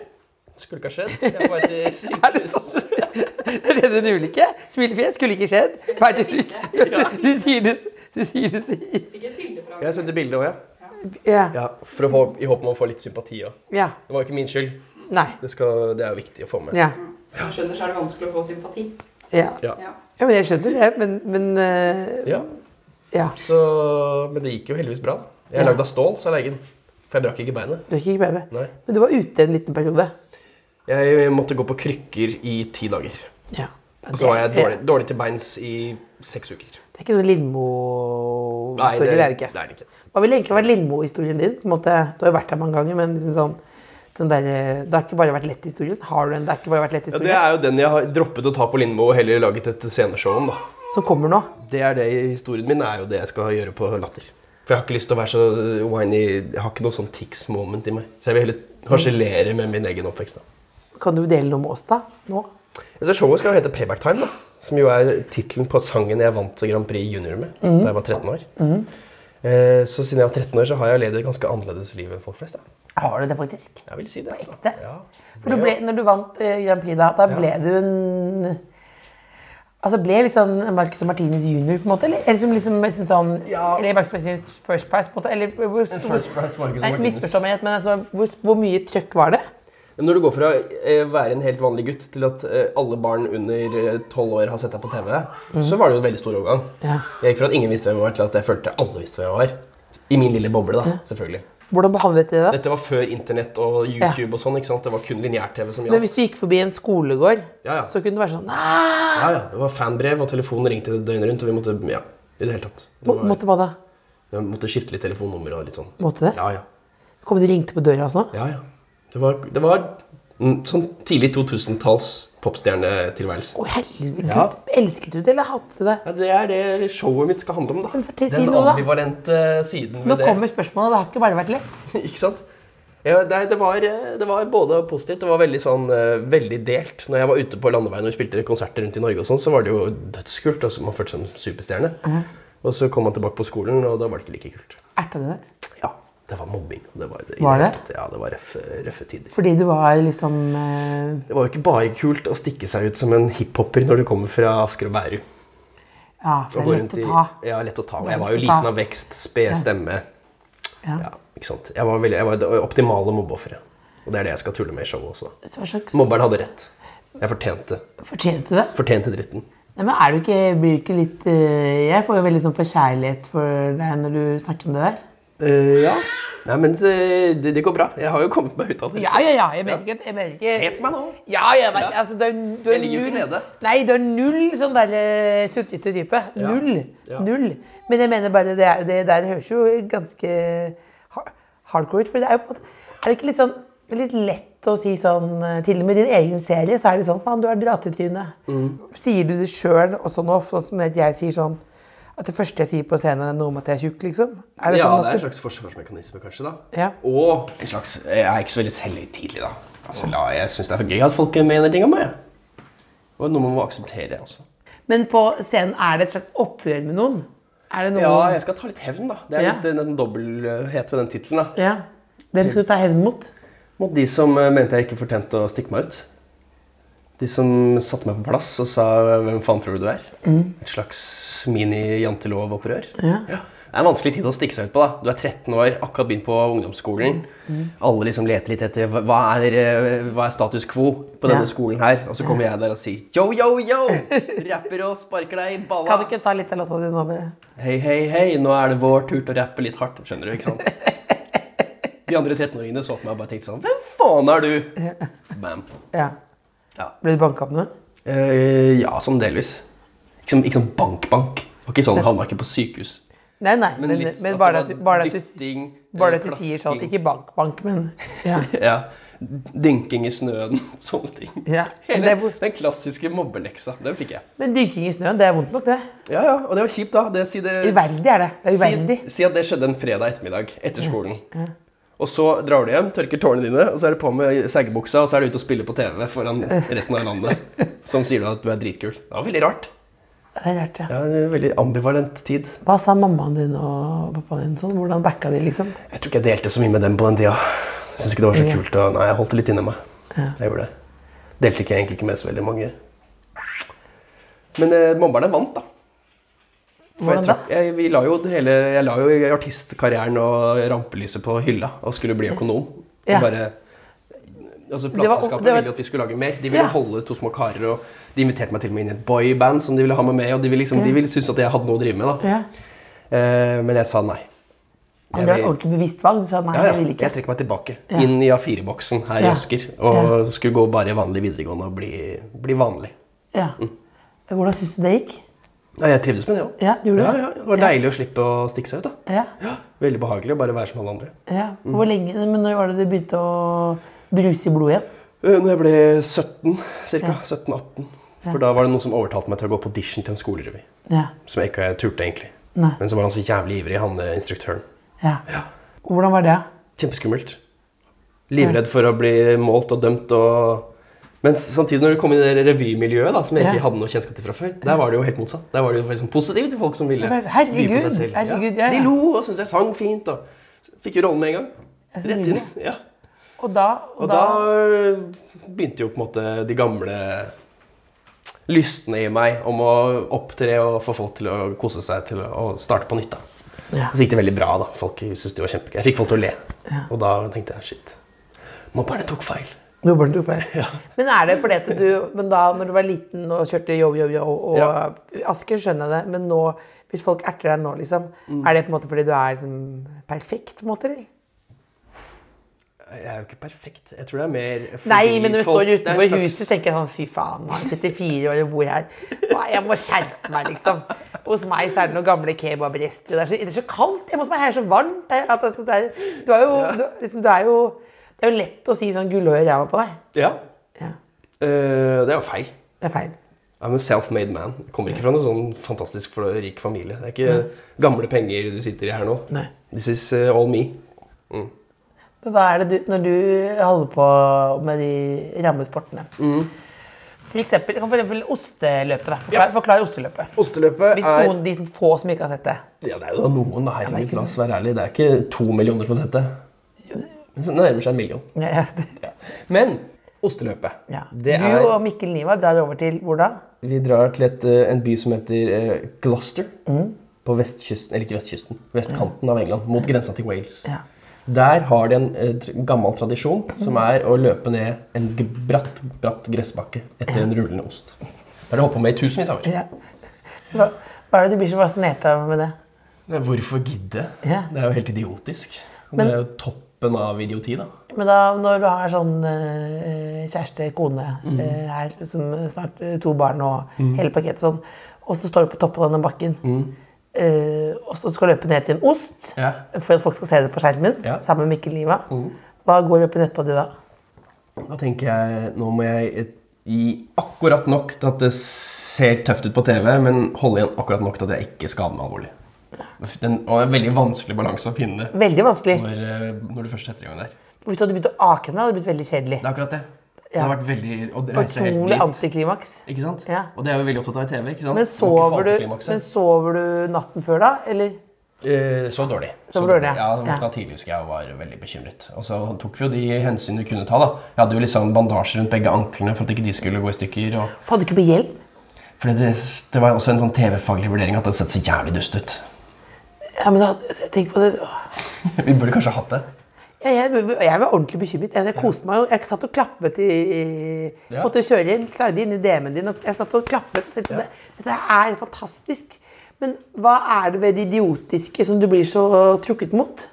S4: Skulle ikke ha skjedd. Jeg var til sykehus.
S3: Det skjedde en ulykke. Smilefjes skulle ikke skjedd. Veit du ikke? Du, du, du sier det Du sier det sier.
S5: Fikk et bilde fra
S4: Jeg sendte bilde òg, ja.
S3: Ja.
S4: ja. For å få, I håp om å få litt sympati òg.
S3: ja.
S4: Det var jo ikke min skyld.
S3: Nei.
S4: Det, skal, det er jo viktig å få med.
S3: Ja.
S5: Jeg skjønner, så er det vanskelig å få sympati.
S3: Ja.
S4: Ja.
S5: Ja.
S3: Ja, men jeg skjønner det, men, men eh,
S4: Ja.
S3: ja.
S4: Så, men det gikk jo heldigvis bra. da. Jeg er
S3: Ja.
S4: lagd av stål, sa legen. For jeg brakk ikke beinet.
S3: Du er ikke med det.
S4: Nei.
S3: Men du var ute en liten periode.
S4: Jeg måtte gå på krykker i ti dager.
S3: Ja.
S4: Og så var jeg dårlig,
S3: Det,
S4: dårlig til beins i seks uker.
S3: det er ikke sånn
S4: Nei,
S3: Lindmo-historie, det er det
S4: det
S3: ikke.
S4: er det ikke.
S3: Hva ville egentlig vært Lindmo-historien din? På en måte, du har jo vært her mange ganger, men liksom sånn, sånn der, eh, det har ikke bare vært lett historien. Har du en det har ikke bare vært lett
S4: Ja, det
S3: historie?
S4: er jo den jeg har droppet å ta på Lindmo og heller laget et sceneshow om. da.
S3: Som kommer nå?
S4: Det er det Historien min er jo det jeg skal gjøre på Latter. For jeg har ikke lyst til å være så whiny. Jeg har ikke noe sånn tics moment i meg. Så jeg vil heller harselere med min egen oppvekst. da.
S3: Kan du dele noe med oss da? Nå?
S4: Så showet skal jo hete Payback Time, da. Som jo er tittelen på sangen jeg vant Grand Prix junior med
S3: Mhm.
S4: da jeg var 13 år. Eh, Så siden jeg var 13 år, så har jeg levd et ganske annerledes liv enn folk flest. da.
S3: Har du det faktisk?
S4: Jeg vil si det. altså.
S3: ekte?
S4: Ja.
S3: For du ble, når du vant eh, Grand Prix, da, da ble du en Altså ble litt sånn Marcus og Martinus junior, på en måte? Eller, eller som liksom, liksom sånn
S4: Ja.
S3: Eller Marcus og Martinus first prize, på en måte? Eller hvor,
S4: First prize, Marcus og
S3: Nei,
S4: Martinus.
S3: misforstå meg rett, men altså, hvor, hvor mye trøkk var det?
S4: Men Når du går fra eh, å være en helt vanlig gutt til at eh, alle barn under eh, tolv år har sett deg på TV, så var det jo en veldig stor overgang.
S3: Mhm. Ja.
S4: Jeg gikk fra at ingen visste hvem jeg var, til at jeg følte alle visste hvem jeg var. I min lille boble, da, selvfølgelig.
S3: Hvordan behandlet de det?
S4: Dette var før internett og YouTube og sånn. ikke sant? Det var kun lineær-TV som
S3: Men
S4: gjaldt.
S3: hvis du gikk forbi en skolegård,
S4: Ja, ja.
S3: så kunne det være sånn Nei!
S4: Ja, ja. Det var fanbrev, og telefonen ringte døgnet rundt, og vi måtte Ja, i det hele tatt. Det
S3: Må,
S4: var,
S3: måtte hva da?
S4: vi måtte skifte litt telefonnummer og litt sånn.
S3: Måtte det?
S4: Ja, ja.
S3: Kom de og ringte på døra og sånn?
S4: ja, ja. Det var, det var mm, sånn tidlig 2000-talls popstjernetilværelse.
S3: Å, herregud.
S4: Ja.
S3: Elsket du det, eller hatet du det?
S4: Ja, det er det showet mitt skal handle om, da.
S3: Men fortell- si
S4: Den
S3: noe, da.
S4: ambivalente siden
S3: Nå
S4: ved det.
S3: kommer spørsmålet. Det har ikke bare vært lett.
S4: Ikke sant? Ja, nei, det, var, eh, det var både positivt Det var veldig, sånn, eh, veldig delt. Når jeg var ute på landeveien og spilte konserter rundt i Norge, og sånn, så var det jo dødskult. Altså, man følte seg som superstjerne.
S3: Mhm.
S4: Og så kom man tilbake på skolen, og da var det ikke like kult.
S3: Erta du deg?
S4: Ja, Det var mobbing. og Det var, i
S3: Var
S4: hele
S3: det?
S4: tatt- Ja, det var røffe, røffe tider.
S3: Fordi du var liksom eh,
S4: Det var jo ikke bare kult å stikke seg ut som en hiphoper når du kommer fra Asker og Bærum.
S3: Ja, for det er
S4: Og gå
S3: lett
S4: rundt
S3: å
S4: i-
S3: ta.
S4: Ja, lett å ta. Og
S3: Det er
S4: jeg var
S3: lett
S4: jo
S3: å ta.
S4: liten av vekst, sped stemme.
S3: Ja.
S4: Ja, ikke sant? Jeg var, veldig, jeg var det optimale mobbeofferet. Og det er det jeg skal tulle med i showet også.
S3: Så Hva slags
S4: Mobberen hadde rett. Jeg fortjente,
S3: Fortjente du det?
S4: fortjente dritten.
S3: Nei, men er du ikke, blir du ikke litt eh, Jeg får jo veldig sånn forkjærlighet for deg når du snakker om det der.
S4: ja. Nei, men eh, det, det går bra. Jeg har jo kommet meg ut av det.
S3: Ja, ja, ja. Jeg mener ikke, jeg mener ikke
S4: Se på meg nå.
S3: Ja, jeg vet, altså, du er, du er
S4: Jeg ligger jo ikke
S3: null-
S4: nede.
S3: Nei, du er null sånn der eh, sultete type.
S4: Ja.
S3: Null.
S4: Ja.
S3: Null. Men jeg mener bare, det, er, det der høres jo ganske har- hardcore ut. For det er jo på en måte Er det ikke litt sånn litt lett å si sånn eh, Til og med i din egen serie så er det sånn Faen, du har dratt i trynet.
S4: Mm.
S3: Sier du det sjøl også nå, sånn som at jeg sier sånn at det første jeg sier på scenen, er noe om at jeg er tjukk, liksom? Er det
S4: ja,
S3: sånn
S4: det
S3: at
S4: er
S3: du,
S4: en slags forsvarsmekanisme, kanskje. da.
S3: Ja.
S4: Og en slags Jeg er ikke så veldig selvhøytidelig, da. Altså, la, jeg syns det er for gøy at folk mener ting om meg. jeg. Og noe man må akseptere altså. også.
S3: Men på scenen er det et slags oppgjør med noen? Er det noe
S4: Ja, jeg skal ta litt hevn, da. Det er
S3: Ja.
S4: litt eh, den dobbelthet ved den tittelen. da.
S3: Ja. Hvem skal du ta hevn mot?
S4: Mot de som eh, mente jeg ikke fortjente å stikke meg ut. De som satte meg på plass og sa 'Hvem faen tror du du er?'
S3: Mm.
S4: Et slags mini-jantelov-opprør. Ja. Det er en vanskelig tid å stikke seg ut på. da. Du er 13 år, akkurat begynt på
S3: Mm.
S4: ungdomsskolen. Alle liksom leter litt etter hva er, eh, hva er status quo på denne
S3: Ja.
S4: skolen her. Og så kommer jeg der og sier yo, yo, yo! Rapper og sparker deg i balla.
S3: Kan du ikke ta litt av låta di nå? bare?
S4: Hei, hei, hei, nå er det vår tur til å rappe litt hardt. Skjønner du, ikke sant? De andre 13-åringene så på meg og bare tenkte sånn Hvem faen er du? Bam.
S3: Ja.
S4: Ja.
S3: Ble du banka opp nå?
S4: Eh, ja, sånn delvis. Ikke sånn- ikke sånn bank-bank. Det var ikke sånn, Havna ikke på sykehus.
S3: Nei, nei, men, men,
S4: litt at
S3: bare,
S4: det
S3: at du,
S4: var
S3: bare, at du,
S4: dytting,
S3: bare at
S4: eh,
S3: du sier sånn
S4: plasking.
S3: Ikke bank, bank, men ja.
S4: Ja. Dynking i snøen, sånne ting.
S3: Ja, men det
S4: Hele
S3: er hvor-
S4: den klassiske mobbeleksa. Den fikk jeg.
S3: Men dynking i snøen, det er vondt nok, det.
S4: Ja, ja, Og det var kjipt, da. Det, si det,
S3: Uverdig er det. Det er uverdig.
S4: Si, si at det skjedde en fredag ettermiddag etter skolen. Og så drar du hjem, tørker tårene dine, og så er det på med seggebuksa, og så er du ute og spiller på TV foran resten av landet, som sier du at du er dritkul. Det var veldig rart.
S3: Det er rart, ja.
S4: Ja, det er en veldig ambivalent tid.
S3: Hva sa mammaen din og pappaen din sånn? Hvordan backa de, liksom?
S4: Jeg tror ikke jeg delte så mye med dem på den tida. Jeg synes ikke det var så
S3: Ja.
S4: kult. Og, nei, jeg holdt det litt inni meg. Jeg gjorde det. Delte ikke egentlig ikke med så veldig mange. Men eh, mobberne vant, da. For jeg,
S3: Hvordan da?
S4: trakk- jeg, vi la jo det hele, jeg la jo artistkarrieren og rampelyset på hylla og skulle bli økonom.
S3: Ja.
S4: Og bare, altså
S3: var-
S4: Plateselskapet
S3: det var-
S4: ville jo at vi skulle lage mer. De ville
S3: Ja.
S4: holde to små karer. og De inviterte meg til og med inn i et boyband som de ville ha meg med i. og De ville, liksom, de ville synes at jeg hadde noe å drive med. da.
S3: Ja.
S4: Eh, men jeg sa nei.
S3: Men det var
S4: vil-
S3: et ordentlig bevisst valg. Du sa nei,
S4: ja, ja.
S3: jeg vil ikke.
S4: Jeg trekker meg tilbake.
S3: Ja.
S4: Inn i A4-boksen her
S3: Ja.
S4: i Asker. Og skulle gå bare i vanlig videregående og bli, bli vanlig.
S3: Ja. Hvordan syns du det gikk?
S4: Ja, jeg trivdes med det òg.
S3: Ja, du gjorde
S4: ja,
S3: det?
S4: ja, det var
S3: Ja.
S4: deilig å slippe å stikke seg ut. da.
S3: Ja.
S4: Veldig behagelig å bare være som alle andre.
S3: ja. Hvor lenge, men når var det det begynte å bruse i blodet igjen?
S4: Eh, Når jeg ble 17, ca. 17-18, for da var det noen som overtalte meg til å gå på audition til en skolerevy.
S3: Ja.
S4: Som jeg ikke turte, egentlig.
S3: Nei.
S4: Men så var han så jævlig ivrig, han eh, instruktøren.
S3: ja. Hvordan var det?
S4: Kjempeskummelt. Livredd for å bli målt og dømt og Men samtidig, når du kom inn i det revymiljøet, da, som jeg ikke
S3: Ja.
S4: hadde noe kjennskap til fra før, der var det jo helt motsatt. Der var det jo liksom positivt til folk som ville
S3: Ja, men herregud,
S4: by på seg selv.
S3: herregud, ja, ja.
S4: De lo og syntes jeg sang fint og Fikk jo rollen med en gang.
S3: Jeg synes
S4: Rett
S3: det
S4: inn.
S3: gikk.
S4: Ja.
S3: Og da,
S4: Og da begynte jo på en måte de gamle lystene i meg om å opptre og få folk til å kose seg til å starte på nytt. da.
S3: Ja.
S4: Og Så gikk det veldig bra. da. Folk syntes det var kjempegøy. Jeg fikk folk til å le. Og da tenkte jeg shit. Mobberne tok feil.
S3: Du bare tok feil. Men er det fordi at du Men da når du var liten og kjørte yo-yo-yo og
S4: Ja.
S3: Asker, skjønner jeg det, men nå
S4: Mm.
S3: hvis folk erter deg nå, liksom, er det på en måte fordi du er liksom, perfekt? på en måte, eller?
S4: Jeg er jo ikke perfekt. Jeg tror det er mer fordi
S3: Nei, men når du står
S4: folk- det er en
S3: utenfor
S4: slags-
S3: huset, tenker jeg sånn Fy faen, jeg er 34 år og bor her. Hva, Jeg må skjerpe meg, liksom. Hos meg så er det noen gamle kebabrester. Det, er så- det er så kaldt hjemme hos meg. Her er det så varmt. Her, at, altså, det, er, du er jo, du, liksom, du er jo, det er jo lett å si sånn gullhår i ræva på deg.
S4: Ja.
S3: Ja,
S4: Eh, det er jo feil.
S3: det er feil.
S4: I'm a self-made man. Jeg kommer ikke fra noen sånn fantastisk for rik familie. Det er ikke gamle penger du sitter i her nå.
S3: Nei.
S4: This is eh, all me.
S3: Men hva er det du, når du holder på med de rammesportene
S4: Mm.
S3: For eksempel, for eksempel osteløpet. da. Forklar, forklar osteløpet.
S4: Osteløpet
S3: Hvis
S4: er
S3: noen, de som få som ikke har sett det.
S4: Ja, det er jo da noen, da. Herregud, la oss være ærlige. Det er ikke to millioner som har sett det. Men så nærmer seg en million.
S3: Ja,
S4: Ja. Men osteløpet,
S3: Ja.
S4: det
S3: Du
S4: er
S3: og Mikkel Niva drar over til hvor da?
S4: Vi drar til et, eh, en by som heter eh, Gloucester.
S3: Mm.
S4: På vestkysten, eller ikke vestkysten, vestkanten av England, mot grensa til Wales.
S3: Ja. Mm.
S4: Der har de en eh, tr- gammel tradisjon som er å løpe ned en g- bratt, bratt gressbakke etter en rullende ost. Det har de holdt på med i tusenvis av år.
S3: Ja. Hva, hva er det du blir så fascinert av med det?
S4: Nei, Hvorfor gidde?
S3: Ja.
S4: Det er jo helt idiotisk.
S3: Men-
S4: det er jo toppen av idioti, da.
S3: Men da, når du har sånn eh, kjæreste, kone
S4: Mm.
S3: eh, her, som snart eh, to barn og hele pakket sånn, og så står du på toppen av denne bakken, eh, og så skal du løpe ned til en ost
S4: Mm. Ja.
S3: for at folk skal se det på skjermen,
S4: Ja. Mm.
S3: sammen med Mikkel Niva, hva går opp i nøtta di da?
S4: Da tenker jeg nå må jeg et- gi akkurat nok til at det ser tøft ut på TV, men holde igjen akkurat nok til at jeg ikke skader meg alvorlig. Den, og det er en veldig vanskelig balanse å finne
S3: Veldig vanskelig.
S4: når, eh, når du først setter i gang der. Det
S3: Hvis du hadde begynt å ake henne, hadde det blitt veldig kjedelig.
S4: er akkurat det. Det
S3: Ja.
S4: har vært veldig å reise helt
S3: Utrolig
S4: dit.
S3: antiklimaks.
S4: Ikke sant?
S3: Ja.
S4: Og det er vi veldig opptatt av i TV. ikke sant?
S3: Men sover, du,
S4: Antiklimakset.
S3: men sover du natten før da, eller?
S4: Eh, så dårlig.
S3: Så dårlig, ja.
S4: ja. Jeg våkna
S3: Ja.
S4: tidlig, husker jeg, og var veldig bekymret. Og så tok vi jo de hensyn vi kunne ta, da. Jeg hadde jo liksom bandasje rundt begge anklene for at ikke de skulle gå i stykker. og...
S3: For hadde du ikke på hjelm?
S4: Fordi det, det var også en sånn TV-faglig vurdering at det sett så jævlig dust ut.
S3: Ja, men da, altså, jeg tenker på det.
S4: Vi burde kanskje hatt det.
S3: Jeg, jeg, jeg var ordentlig bekymret. Altså, jeg koste meg jo. Jeg satt og klappet i, i-
S4: Ja.
S3: Måtte kjøre inn, klagde inn i DM-en din. Og jeg satt og klappet. Og tenkte, Dette er fantastisk. Men hva er det ved det idiotiske som du blir så trukket mot?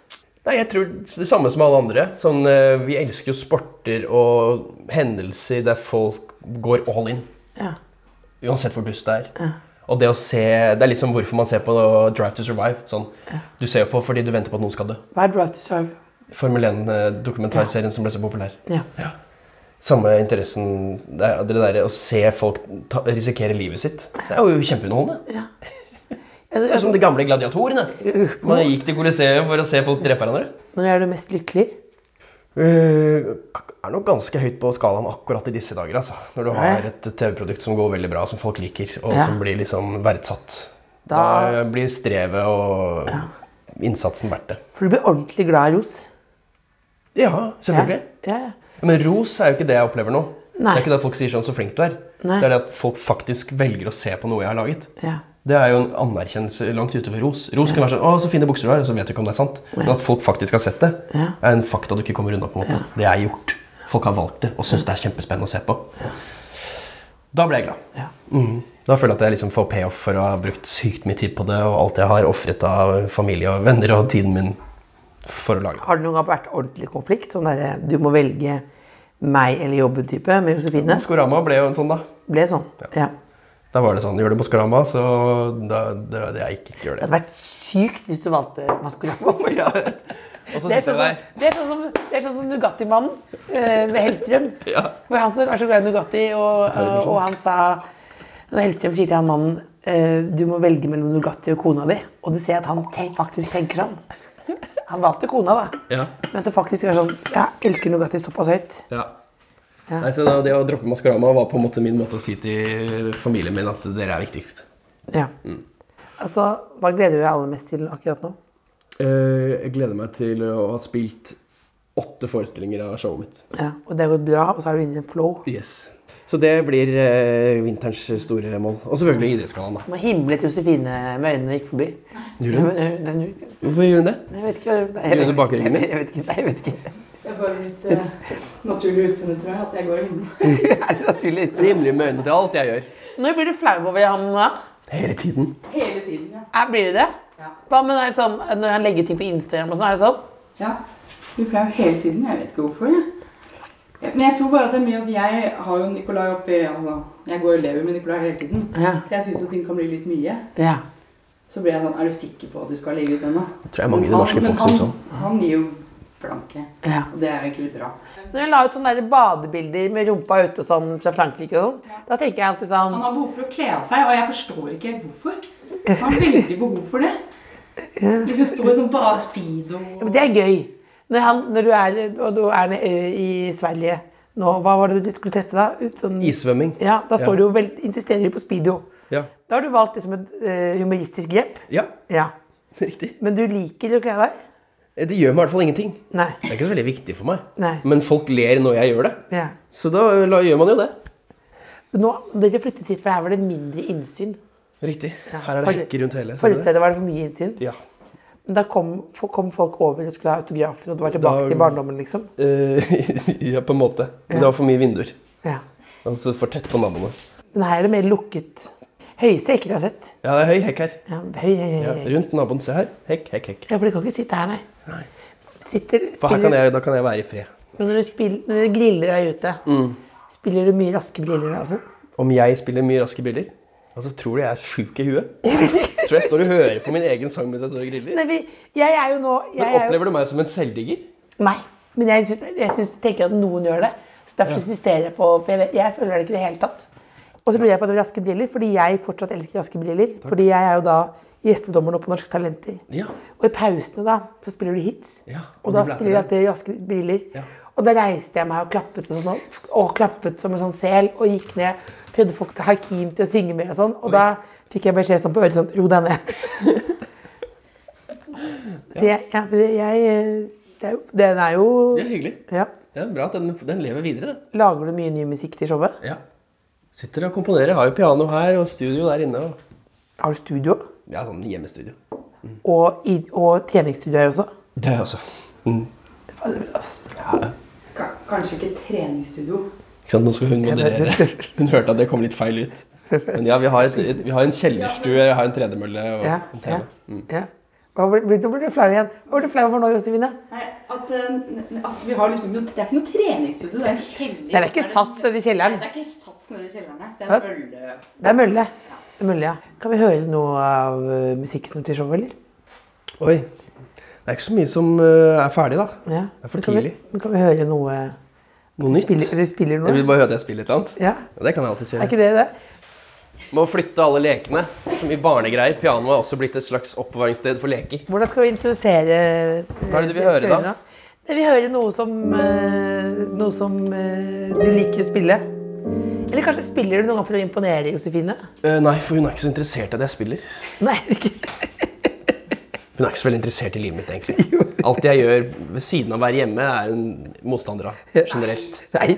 S4: Nei, jeg tror det samme som alle andre. Sånn, eh, vi elsker jo sporter og hendelser der folk går all in.
S3: Ja.
S4: Uansett hvor dust det er. Og det å se Det er litt som hvorfor man ser på Drive to Survive. Sånn. Du ser jo på fordi du venter på at noen skal dø.
S3: Hva er drive to serve?
S4: Formel 1-dokumentarserien som ble så populær.
S3: Ja.
S4: Ja. Samme interessen Det er- det derre å se folk ta, risikere livet sitt. Det er jo kjempeunderholdende.
S3: Altså,
S4: Det er som de gamle gladiatorene. Man gikk til Colosseum for å se folk drepe hverandre.
S3: når er du mest lykkelig?
S4: Eh, er nok ganske høyt på skalaen akkurat i disse dager. altså. Når du har et TV-produkt som går veldig bra, som folk liker, og
S3: Ja.
S4: som blir liksom verdsatt. Da, eh,
S3: Da-
S4: blir strevet og innsatsen verdt det.
S3: For du blir ordentlig glad i ros.
S4: Ja, selvfølgelig.
S3: Ja, ja.
S4: Men ros er jo ikke det jeg opplever nå.
S3: Nei.
S4: Det er ikke det at folk sier sånn 'så flink du er'.
S3: Nei.
S4: Det er det at folk faktisk velger å se på noe jeg har laget.
S3: ja.
S4: Det er jo en anerkjennelse langt utover ros. Ros kan være sånn 'Å, så fine bukser du har', og så vet du ikke om det er sant. Men at folk faktisk har sett det,
S3: Ja.
S4: er en fakta du ikke kommer unna. på en måte. Det er gjort. Folk har valgt det og syns det er kjempespennende å se på. Da ble jeg glad.
S3: Ja.
S4: Mhm. Da føler jeg at jeg liksom får payoff for å ha brukt sykt mye tid på det, og alt jeg har ofret av familie og venner og tiden min for å lage det.
S3: Har det noen gang vært ordentlig konflikt? Sånn der, du må velge meg eller jobben-type med Josefine?
S4: Maskorama ble jo en sånn, da.
S3: Ble sånn. ja.
S4: Da var det sånn Gjør det Maskorama, så da, det, det, jeg ikke gjør
S3: Det
S4: det.
S3: hadde vært sykt hvis du valgte Maskorama.
S4: Ja, jeg vet. Og så
S3: Det er
S4: sitter
S3: sånn
S4: jeg
S3: som,
S4: der.
S3: det er sånn som, det er sånn som Nugatti-mannen eh, med Hellstrøm.
S4: Ja.
S3: For han som er så glad i Nugatti, og, og han sa Når Hellstrøm sier til han mannen eh, du må velge mellom Nugatti og kona di, og du ser at han te faktisk tenker sånn Han valgte kona, da.
S4: Ja.
S3: Men at det faktisk er sånn Jeg elsker Nugatti såpass høyt.
S4: Ja. Nei, så da, Det å droppe Maskorama var på en måte min måte å si til familien min at dere er viktigst.
S3: Ja.
S4: Mm.
S3: Altså, hva gleder du deg aller mest til akkurat nå?
S4: Eh, jeg gleder meg til å ha spilt åtte forestillinger av showet mitt.
S3: Ja. Og det har gått bra, og så er du inne i en flow.
S4: Yes. Så det blir eh, vinterens store mål. Og selvfølgelig Idrettsgallaen, Mm. da.
S3: Nå himlet Josefine med øynene og gikk forbi.
S4: Gjorde hun?
S3: Nei, nei, nei,
S4: Hvorfor gjør hun det?
S3: Jeg vet ikke. Nei, jeg
S4: Gjorde
S3: vet
S4: du
S3: ikke.
S4: bakryggen din?
S3: Jeg vet ikke. Nei, jeg vet ikke.
S5: Det er bare mitt eh, naturlige utseende, tror jeg, at jeg går i himmelen.
S3: Er det naturlig?
S4: Jeg himler med øynene til alt jeg gjør.
S3: Når blir du flau over ham da?
S4: Hele tiden.
S5: Hele tiden, ja.
S3: Er, blir du det?
S5: Ja.
S3: Hva med når, det er sånn, når han legger ting på Instagram og sånn, er det sånn?
S5: ja. blir flau hele tiden. Jeg vet ikke hvorfor. Jeg. Men jeg tror bare at det er mye at jeg har jo Nicolai oppi altså, Jeg går og lever med Nicolai hele tiden.
S3: Ja.
S5: Så jeg syns jo ting kan bli litt mye.
S3: ja.
S5: Så blir jeg sånn Er du sikker på at du skal legge ut den, da?
S4: Tror jeg mange i det
S5: Han-
S4: norske
S5: men
S4: folk syns
S5: han-
S4: sånn.
S5: Han gir jo blanke.
S3: Ja.
S5: Og det er jo egentlig bra.
S3: Når jeg la ut sånne der badebilder med rumpa ute sånn fra Frankrike og sånn, da tenker jeg alltid sånn
S5: Han har behov for å kle av seg, og jeg forstår ikke helt hvorfor. Han har veldig behov for det. Liksom står sånn bare speedo
S3: Ja, Men det er gøy. Når, han, når du er, og du er ned, ø, i Sverige nå, hva var det du skulle teste da? Ut sånn,
S4: Issvømming.
S3: Ja, da står
S4: Ja.
S3: du jo vel, insisterer du på speedo.
S4: Ja.
S3: Da har du valgt liksom et ø, humoristisk grep.
S4: ja,
S3: Ja.
S4: riktig. Eh,
S3: Men du liker å kle deg?
S4: Det gjør meg i hvert fall ingenting.
S3: Nei.
S4: Det er ikke så veldig viktig for meg.
S3: Nei.
S4: Men folk ler når jeg gjør det.
S3: Ja.
S4: Så da eh, la, gjør man jo det.
S3: Nå, dere flyttet hit, for her var det mindre innsyn.
S4: Riktig. Her er det
S3: Forrige-
S4: hekker rundt hele. ser du
S3: Forrige
S4: det?
S3: stedet var det for mye innsyn.
S4: Ja.
S3: Men da kom, fo- kom folk over og skulle ha autografer, og det var tilbake
S4: Da-
S3: til barndommen, liksom.
S4: Eh, ja, på en måte. Men
S3: Ja.
S4: det var for mye vinduer.
S3: Ja.
S4: Altså for tett på naboene.
S3: Men her er det mer lukket. Høyeste hekker jeg har sett.
S4: Ja, det er høy hekk her.
S3: Ja, høy, høy, høy,
S4: Ja,
S3: høy.
S4: rundt naboen. Se her. Hekk, hekk, hekk.
S3: Ja, for de kan ikke sitte her, nei.
S4: Nei.
S3: Sitter,
S4: For her kan
S3: spiller,
S4: jeg, da kan jeg Mm. være i fred.
S3: men når du, spiller, når du griller deg ute, spiller du mye raske briller da? Altså?
S4: Om jeg spiller mye raske briller, altså tror du jeg er sjuk i huet? Tror jeg står og hører på min egen sang mens jeg står og griller?
S3: Nei, vi, jeg er jo nå jeg
S4: Men
S3: er jo,
S4: opplever du meg som en selvdigger?
S3: Nei, men jeg, syns- jeg syns- tenker at noen gjør det. Så derfor insisterer jeg på For jeg, vet- jeg føler det ikke i det hele tatt. Og så lurer jeg på det med raske briller, fordi jeg fortsatt elsker raske briller. Fordi jeg er jo da gjestedommer nå på Norske Talenter.
S4: Ja.
S3: Og i pausene da, så spiller de hits.
S4: Ja,
S3: og,
S4: og
S3: da
S4: de blæster
S3: spiller de alltid raske briller.
S4: Ja.
S3: Og da reiste jeg meg og klappet, og sånn, og klappet som en sånn sel, og gikk ned. Prøvde å få Hakim til å synge med og sånn. Og da fikk jeg beskjed sånn på øret sånn, ro deg ned. Så jeg, ja, det, jeg det, er jo- Den er jo
S4: Det er hyggelig.
S3: ja.
S4: Det er bra at den, den lever videre, den.
S3: Lager du mye ny musikk til showet?
S4: Ja. Sitter og komponerer. Har jo piano her og studio der inne. Og...
S3: Har du studio?
S4: Ja, sånn hjemmestudio.
S3: Og, i, og treningsstudio her også?
S4: Det er også. Mm.
S3: Fader, ass.
S5: Ka- Kanskje ikke treningsstudio.
S4: Ikke sant, nå skal hun moderere. Hun hørte at det kom litt feil ut. Men ja, vi har, et, et, vi har en kjellerstue, vi har en tredemølle og
S3: Ja,
S4: en Mm.
S3: ja,
S4: TV.
S3: ja. Hva ble, ble, nå ble du flau igjen. Hva ble du flau over nå, Josefine?
S5: Nei, at, eh, n- at vi har liksom ikke noe, Det er ikke noe treningsstudio, det er en kjeller.
S3: Nei, det er ikke sats nede i kjelleren.
S5: Nei, Det er ikke sats nede i kjelleren. nei. Det er en øl...
S3: Det er mølle. Det er mølle, ja. Kan vi høre noe av eh, musikken som til showet, eller?
S4: Oi. Det er ikke så mye som eh, er ferdig, da.
S3: Ja.
S4: Det er for
S3: kan vi,
S4: tidlig.
S3: men kan vi høre noe
S4: Noe
S3: du
S4: nytt.
S3: spiller,
S4: Jeg
S3: du spiller noe?
S4: vil bare høre at jeg spiller et eller annet.
S3: Ja,
S4: Ja, det kan jeg alltid
S3: er
S4: gjøre.
S3: ikke det det?
S4: Må flytte alle lekene. Som i barnegreier. Pianoet er også blitt et slags oppbevaringssted for leker.
S3: Hvordan skal vi introdusere
S4: Hva er det du vil høre, da?
S3: Jeg vil høre noe som, eh, noe som eh, du liker å spille. Eller kanskje spiller du noe for å imponere Josefine?
S4: Eh, nei, for hun er ikke så interessert i at jeg spiller.
S3: Nei, ikke.
S4: Hun er ikke så veldig interessert i livet mitt, egentlig. Alt jeg gjør ved siden av å være hjemme, er hun motstander av. Generelt.
S3: Nei.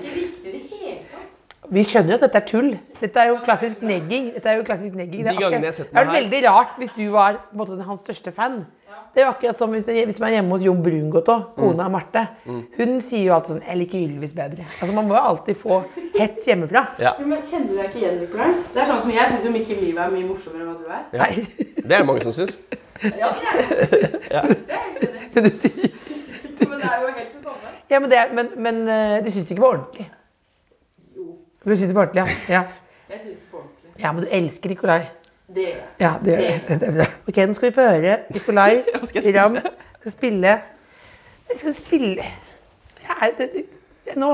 S3: Vi skjønner jo at dette er tull. Dette er jo klassisk negging. Dette er jo klassisk negging.
S4: De
S3: Det er akkurat-
S4: gangene jeg har sett
S3: det er
S4: meg her-
S3: veldig rart hvis du var på en måte, hans største fan. Det er jo akkurat som hvis, hvis man er hjemme hos Jon Brungot også, kona av Marte. Hun sier jo alltid sånn 'Jeg liker Ylvis bedre'. Altså Man må jo alltid få hets hjemmefra.
S4: Ja.
S5: Jo, men Kjenner du deg ikke igjen, Nicolai? Det er sånn som jeg syns jo Mikkel Livet er mye morsommere enn hva du er.
S4: Ja.
S3: Nei,
S4: Det er det mange som syns.
S5: Ja, det er det. Det er egentlig det.
S3: men du sier
S5: Men det er jo helt det samme.
S3: Ja, men, det, er- men, men eh, du syns det ikke var ordentlig? Du syns det var ordentlig, ja. ja.
S5: Jeg syns det på ordentlig.
S3: Ja, men du elsker Nikolai.
S5: Det gjør jeg.
S3: Ja, det gjør det. det, er bra. Ok, nå skal vi få høre Nikolai Ram skal spille Nei, Skal du spille ja, det, det, Nå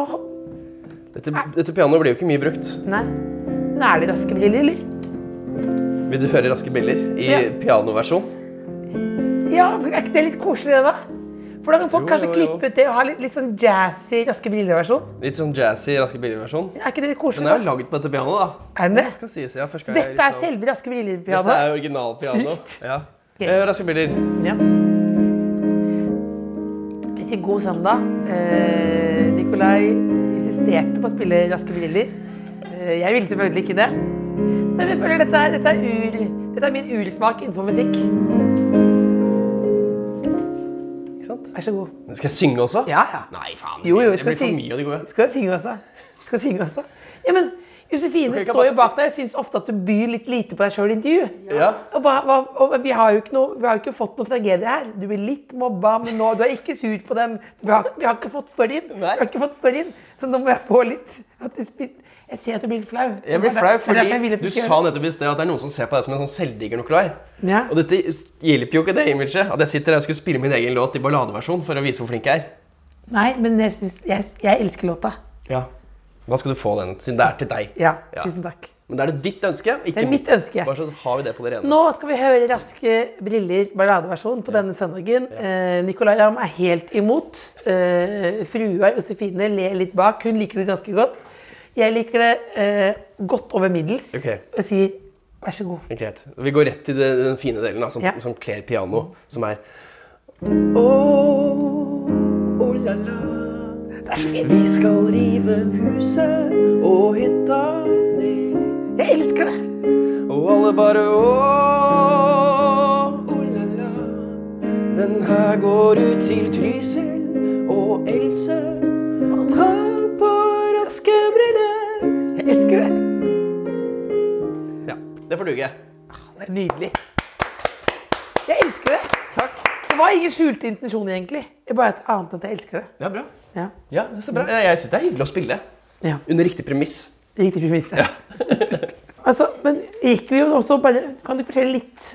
S4: Dette, dette pianoet blir jo ikke mye brukt.
S3: Nei. Men er det raske briller, eller?
S4: Vil du høre Raske briller i
S3: Ja.
S4: pianoversjon?
S3: Ja, men er ikke det litt koselig, det, da? For da kan folk
S4: Jo,
S3: kanskje
S4: jo, jo.
S3: klippe ut det og ha litt, litt sånn jazzy raske briller-versjon.
S4: Litt sånn jazzy Raske briller-versjon.
S3: Er ikke det litt
S4: Den er
S3: koselig?
S4: jo lagd på dette pianoet, da.
S3: da? Er den det?
S4: Skal sies, ja. Først
S3: Så
S4: skal jeg
S3: Dette er
S4: liksom-
S3: selve raske
S4: Dette er
S3: briller-pianoet?
S4: originalpiano.
S3: Sykt.
S4: Ja. Eh, raske briller.
S3: Ja. Vi sier god søndag. Eh, Nikolai insisterte på å spille Raske briller. Eh, jeg ville selvfølgelig ikke det. Nei, men jeg føler dette er, dette er, ur, dette er min ursmak innenfor musikk.
S4: Ikke sant?
S3: Vær så god.
S4: Skal jeg synge også?
S3: Ja, ja.
S4: Nei, faen.
S3: Jo, jo, vi
S4: det
S3: skal
S4: blir for
S3: synge.
S4: mye av det gode.
S3: Skal jeg synge også? Skal synge også? Ja, men Josefine
S4: ikke
S3: står jo
S4: bare-
S3: bak deg. Jeg syns ofte at du byr litt lite på deg sjøl i intervju.
S4: Ja.
S3: Og, ba, hva, og vi, har jo ikke noe, vi har jo ikke fått noe tragedie her. Du blir litt mobba, men nå, du er ikke sur på dem. Vi har, vi har ikke fått storyen. Vi
S4: Nei.
S3: har ikke fått storyen. Så nå må jeg få litt at du spyr- Jeg ser at du blir litt flau.
S4: Jeg blir
S3: Det er
S4: flau
S3: derfor jeg vil
S4: fordi
S3: at
S4: du
S3: skal
S4: sa nettopp i sted at det er noen som ser på deg som en sånn selvdigger Nicolai.
S3: Ja.
S4: Og dette hjelper jo ikke det imaget. At jeg sitter her og skulle spille min egen låt i balladeversjon for å vise hvor flink jeg er.
S3: gjøre- Nei, men jeg, synes, jeg, jeg elsker låta.
S4: Ja. Da skal du få den, siden det er til deg.
S3: Ja,
S4: Ja.
S3: tusen takk.
S4: Men da er det ditt ønske, ikke
S3: Det er mitt ønske.
S4: Bare så har vi det på det rene.
S3: Nå skal vi høre Raske briller, balladeversjon, på denne søndagen. Eh, Nicolai Ramm er helt imot. Eh, frua Josefine ler litt bak. Hun liker det ganske godt. Jeg liker det eh, godt over middels
S4: Ok.
S3: og sier vær så god.
S4: Greit. Vi går rett til det- den fine delen, da, som,
S3: Ja.
S4: som kler piano, som er Åh, oh la la, vi skal rive huset og hytta ned.
S3: Jeg elsker det!
S4: Og alle bare åh, oh la la. Den her går ut til Trysil og Else. Ta på raske briller.
S3: Jeg elsker det!
S4: Ja, det får duge.
S3: Det er nydelig. Jeg elsker det! Takk. Det var ingen skjulte intensjoner, egentlig. Det er Bare et annet enn at jeg elsker det.
S4: Ja, bra.
S3: Ja.
S4: Ja, det er så bra. Jeg, jeg syns det er hyggelig å spille.
S3: ja.
S4: Under riktig premiss.
S3: Riktig premisse. altså, men gikk vi jo også bare Kan du fortelle litt,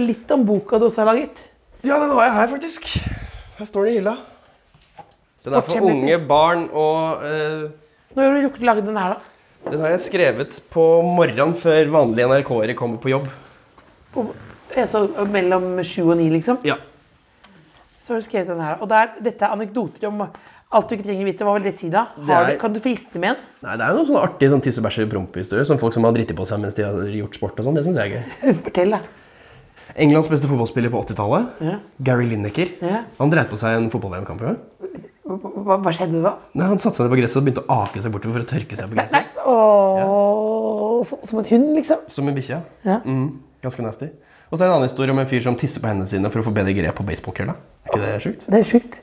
S3: litt om boka du også har laget?
S4: Ja, den har jeg her, faktisk. Her står den i hylla. Den er for
S3: Sportshemmeligheter.
S4: unge barn, og eh,
S3: Når har du rukket å lage den her, da?
S4: den har jeg skrevet på morgenen før vanlige NRK-ere kommer på jobb.
S3: På, jeg så mellom sju og ni, liksom.
S4: Ja.
S3: Så har du skrevet den her. Og der, dette er anekdoter om alt du ikke trenger vite. Hva vil det si, da? Har
S4: Det er-
S3: du, kan du få gjeste med en?
S4: Nei, Det er jo noen sånne artige sånn tissebæsje-prompehistorier. Som folk som har driti på seg mens de har gjort sport. og sånn, Det syns jeg er gøy.
S3: Fortell, da.
S4: Englands beste fotballspiller på 80-tallet,
S3: Ja.
S4: Gary Lineker,
S3: Ja.
S4: han dreit på seg en fotball-VM-kamp. en gang.
S3: Hva, hva skjedde da?
S4: Nei, Han satte seg ned på gresset og begynte å ake seg bortover for å tørke seg på
S3: Nei,
S4: gresset.
S3: ååå så, Som en hund, liksom.
S4: Som en bikkje.
S3: Ja.
S4: Mm, ganske nasty. Og så er det en annen historie om en fyr som tisser på hendene sine for å få bedre grep på baseballkølla. Er ikke det sjukt?
S3: Det er sjukt.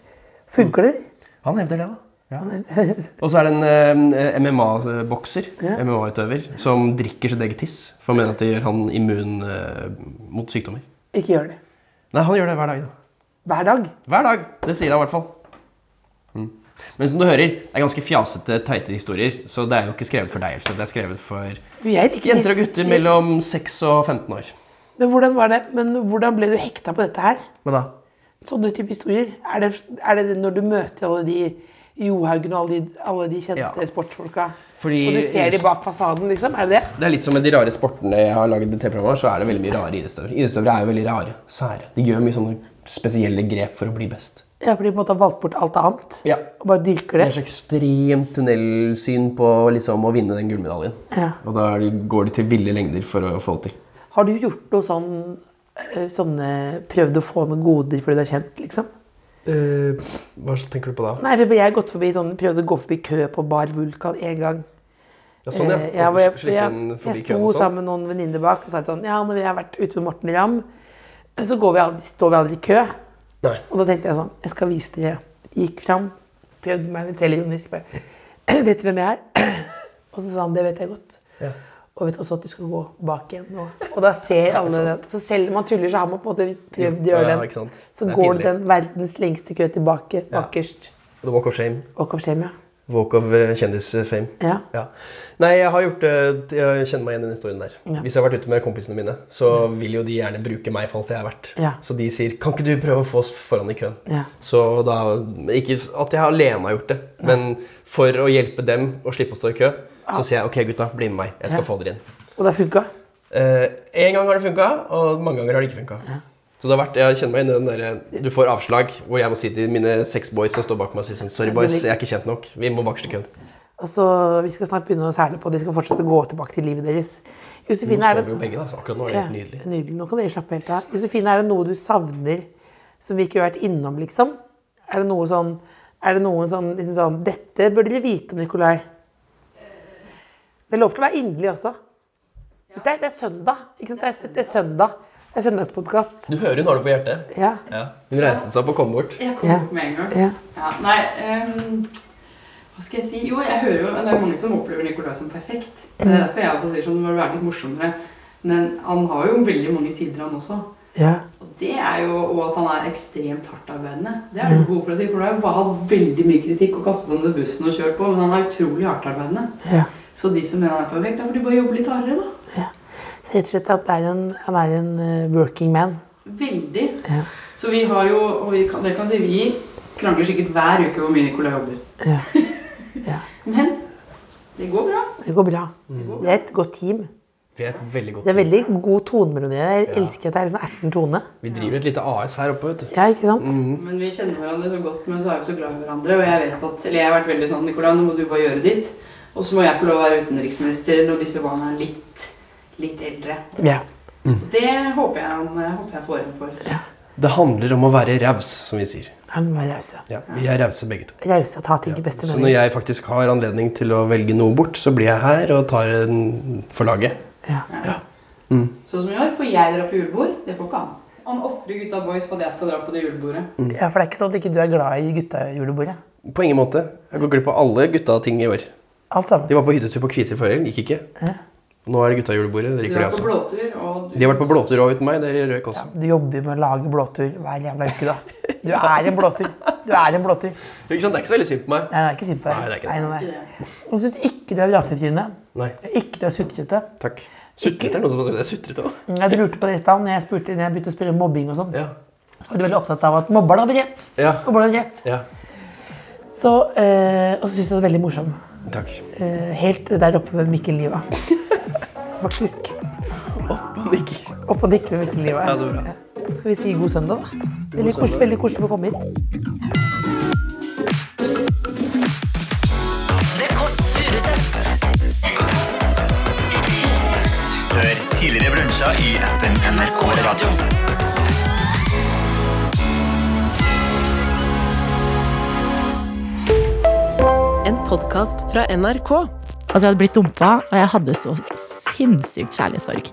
S3: Funker det?
S4: Han hevder det, da. Ja. Og så er det en MMA-bokser, MMA-utøver, som drikker sitt eget tiss for å mene at det gjør han immun eh, mot sykdommer.
S3: Ikke gjør det.
S4: Nei, han gjør det hver dag, da.
S3: Hver dag.
S4: Hver dag! Det sier han i hvert fall. Mm. Men som du hører, det er ganske fjasete, teite historier, så det er jo ikke skrevet for deg, Else. Det er skrevet for
S3: Du, jeg liker-
S4: jenter og gutter mellom 6 og 15 år.
S3: Men hvordan var det? Men hvordan ble du hekta på dette her?
S4: Hva da?
S3: Sånne type historier. Er det, er det når du møter alle de Johaugen og alle de, alle de kjente
S4: Ja.
S3: sportsfolka?
S4: Fordi-
S3: og du ser de bak fasaden, liksom? Er det det?
S4: Det er litt som med de rare sportene jeg har laget TV-programmer, så er det veldig mye rare idrettsutøvere. Idrettsutøvere er jo veldig rare, sære. De gjør mye sånne spesielle grep for å bli best.
S3: Ja, for de på en måte har valgt bort alt annet
S4: Ja.
S3: og bare dyrker
S4: Det
S3: det?
S4: er så ekstremt tunnelsyn på liksom, å vinne den gullmedaljen.
S3: Ja.
S4: Og da er de- går de til ville lengder for å få det til.
S3: Har du gjort noe sånn eh, sånne, Prøvd å få noen goder fordi du er kjent, liksom?
S4: hva tenker du på da?
S3: Nei, for jeg har gått forbi sånn, prøvd å gå forbi kø på Bar Vulkan én gang.
S4: Ja, sånn, ja.
S3: Eh, ja, hvor jeg,
S4: Slikke
S3: jeg,
S4: en forbi
S3: jeg
S4: køen
S3: sto
S4: og sånn.
S3: sammen med noen venninner bak og sa sånn Ja, når vi har vært ute med Morten Ramm, så går vi, aldri- står vi aldri i kø.
S4: Nei.
S3: Og da tenkte jeg sånn Jeg skal vise dere. Gikk fram, prøvde meg litt selvironisk. bare, Vet du hvem jeg er? Og så sa han det vet jeg godt. Og vet også at du skal gå bak igjen nå. Og da ser alle den. Så selv om man tuller, så har man på en måte prøvd å
S4: Ja,
S3: gjøre
S4: ikke sant.
S3: den. Så
S4: Det er
S3: går
S4: pinlig.
S3: den verdens lengste kø tilbake bakerst.
S4: The walk of shame.
S3: Og kom hjem, ja.
S4: Walk of eh, kjendisfame.
S3: Ja.
S4: Nei, jeg har gjort det. Jeg kjenner meg igjen i den historien der.
S3: Ja.
S4: Hvis jeg har vært ute med kompisene mine, så vil jo de gjerne bruke meg for alt jeg er verdt.
S3: Ja.
S4: Så de sier 'Kan ikke du prøve å få oss foran i køen?'
S3: Ja.
S4: Så da Ikke at jeg alene har gjort det, men for å hjelpe dem å slippe å stå i kø, så sier jeg 'OK, gutta, bli med meg. Jeg skal
S3: Ja.
S4: få dere inn'.
S3: Og det funka.
S4: Eh, en gang har det funka, og mange ganger har det ikke funka. Så det har vært, jeg kjenner meg inn i den der, eh, Du får avslag hvor jeg må si til mine seks boys som står bak meg og sier sånn, 'Sorry, boys, jeg er ikke kjent nok. Vi må bakerst i køen'.
S3: Altså, vi skal snart begynne å serne på. De skal fortsette å gå tilbake til livet deres.
S4: Nå
S3: Josefine, er
S4: står vi
S3: det,
S4: jo begge, da, så akkurat nå er det
S3: ja,
S4: helt nydelig.
S3: nydelig. Nå kan dere slappe helt av. Josefine, er det noe du savner som vi ikke har vært innom, liksom? Er det noe sånn, er det noen sånn, liten sånn Dette bør dere vite om Nikolai. Det er lov til å være inderlig også. Det er, det er søndag. ikke sant? Det er, det er søndag. Det er søndagspodkast.
S4: Du hører hun har det på hjertet.
S3: Ja.
S4: Ja. Hun reiste seg opp og kom bort.
S5: Jeg kom
S3: Ja.
S5: opp med en gang.
S3: ja.
S5: Ja, nei ehm, Hva skal jeg si? Jo, jeg hører jo, det er mange som opplever Nicolai som perfekt. Det
S3: Mm.
S5: er derfor jeg også sier sånn, du må være litt morsommere. Men han har jo veldig mange sider, han også.
S3: Ja.
S5: Og det er jo, og at han er ekstremt hardtarbeidende. Det
S3: Mm.
S5: er det behov for å si, for du har jo bare hatt veldig mye kritikk og kastet ham under bussen og kjørt på, men han er utrolig hardtarbeidende.
S3: ja.
S5: Så de som mener han er perfekt, da får de bare jobbe litt hardere, da.
S3: Så rett og slett at det er en, han er en eh, working man.
S5: Veldig.
S3: Ja.
S5: Så vi har jo, og vi kan, det kan si, vi krangler sikkert hver uke hvor mye Nicolai jobber.
S3: Ja.
S5: Men det går bra.
S3: Det går bra.
S4: Mm.
S3: Det er et godt team.
S4: Vi er et veldig godt
S3: Det er
S4: team.
S3: veldig god tone mellom dere. Jeg elsker at det er sånn erten tone.
S4: Vi driver et lite AS her oppe, vet du.
S3: Ja, ikke sant?
S4: Mm.
S5: Men vi kjenner hverandre så godt, men så er vi så glad i hverandre. Og jeg vet at, eller jeg har vært veldig sånn Nicolai, nå må du bare gjøre ditt. Og så må jeg få lov å være utenriksminister når disse barna er litt, litt eldre.
S3: Ja.
S5: Det håper jeg han jeg håper jeg får en for.
S4: Det handler om å være raus, som vi sier.
S3: Han må være rause.
S4: Ja, vi er rause begge to.
S3: Rause og ta ting i beste
S4: Så når
S3: mening.
S4: jeg faktisk har anledning til å velge noe bort, så blir jeg her og tar en for laget.
S3: Ja.
S5: Sånn som i år får jeg dra på julebord. Det får ikke han. Han ofrer gutta boys på at jeg skal dra på det julebordet.
S4: Mm.
S3: ja, for det er ikke sånn at ikke du er glad i guttajulebordet.
S4: På ingen måte. Jeg går glipp av alle gutta-ting i år.
S3: Alt sammen.
S4: De var på hyttetur på Kviter forrige, gikk ikke. Nå er det gutta-julebordet. Det altså. drikker
S5: Du
S4: de
S5: er
S4: også.
S5: på blåtur, og
S4: De har vært på blåtur òg uten meg. Det røk også.
S3: Du jobber med å lage blåtur hver jævla uke, da. Du er en blåtur. Du er en blåtur. Nei,
S4: Ikke sant? Det er ikke så veldig synd på meg.
S3: det er ikke synd på deg.
S4: Nei, det er ikke det.
S3: nei, nei. Og så ikke du er vratetryne.
S4: Nei,
S3: Ikke du er sutrete.
S4: takk. Sutrete er noen som har sagt det. er Sutrete òg.
S3: Jeg lurte på det i stad når jeg spurte- når jeg begynte å spørre om mobbing og sånn.
S4: Ja.
S3: Så var du veldig opptatt av at mobberen hadde rett.
S4: Ja.
S3: Mobberen hadde rett.
S4: ja.
S3: Så, eh, og så syns jeg det var veldig morsom.
S4: Takk.
S3: Eh, helt der oppe med Mikkel Liva. Faktisk.
S4: Panikk.
S3: Opp og nikke med Mikkel Liva.
S4: Ja, det er bra.
S3: Ja. Skal vi si god søndag, da? Veldig koselig, veldig koselig å få komme hit.
S2: Det Kåss Furuseths.
S6: Hør tidligere brunsja i appen NRK Radio.
S7: En podkast fra NRK.
S8: Altså, jeg hadde blitt dumpa, og jeg hadde så sinnssykt kjærlighetssorg.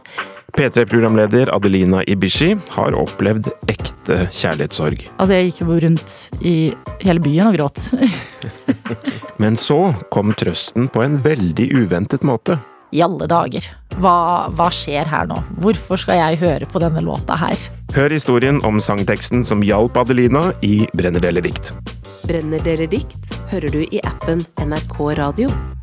S9: P3-programleder Adelina Ibishi har opplevd ekte kjærlighetssorg.
S8: Altså, jeg gikk jo rundt i hele byen og gråt.
S9: Men så kom trøsten på en veldig uventet måte.
S8: I alle dager. Hva, hva skjer her nå? Hvorfor skal jeg høre på denne låta her?
S9: Hør historien om sangteksten som hjalp Adelina i Brenner det eller dikt.
S7: Brenner deler dikt hører du i appen NRK Radio.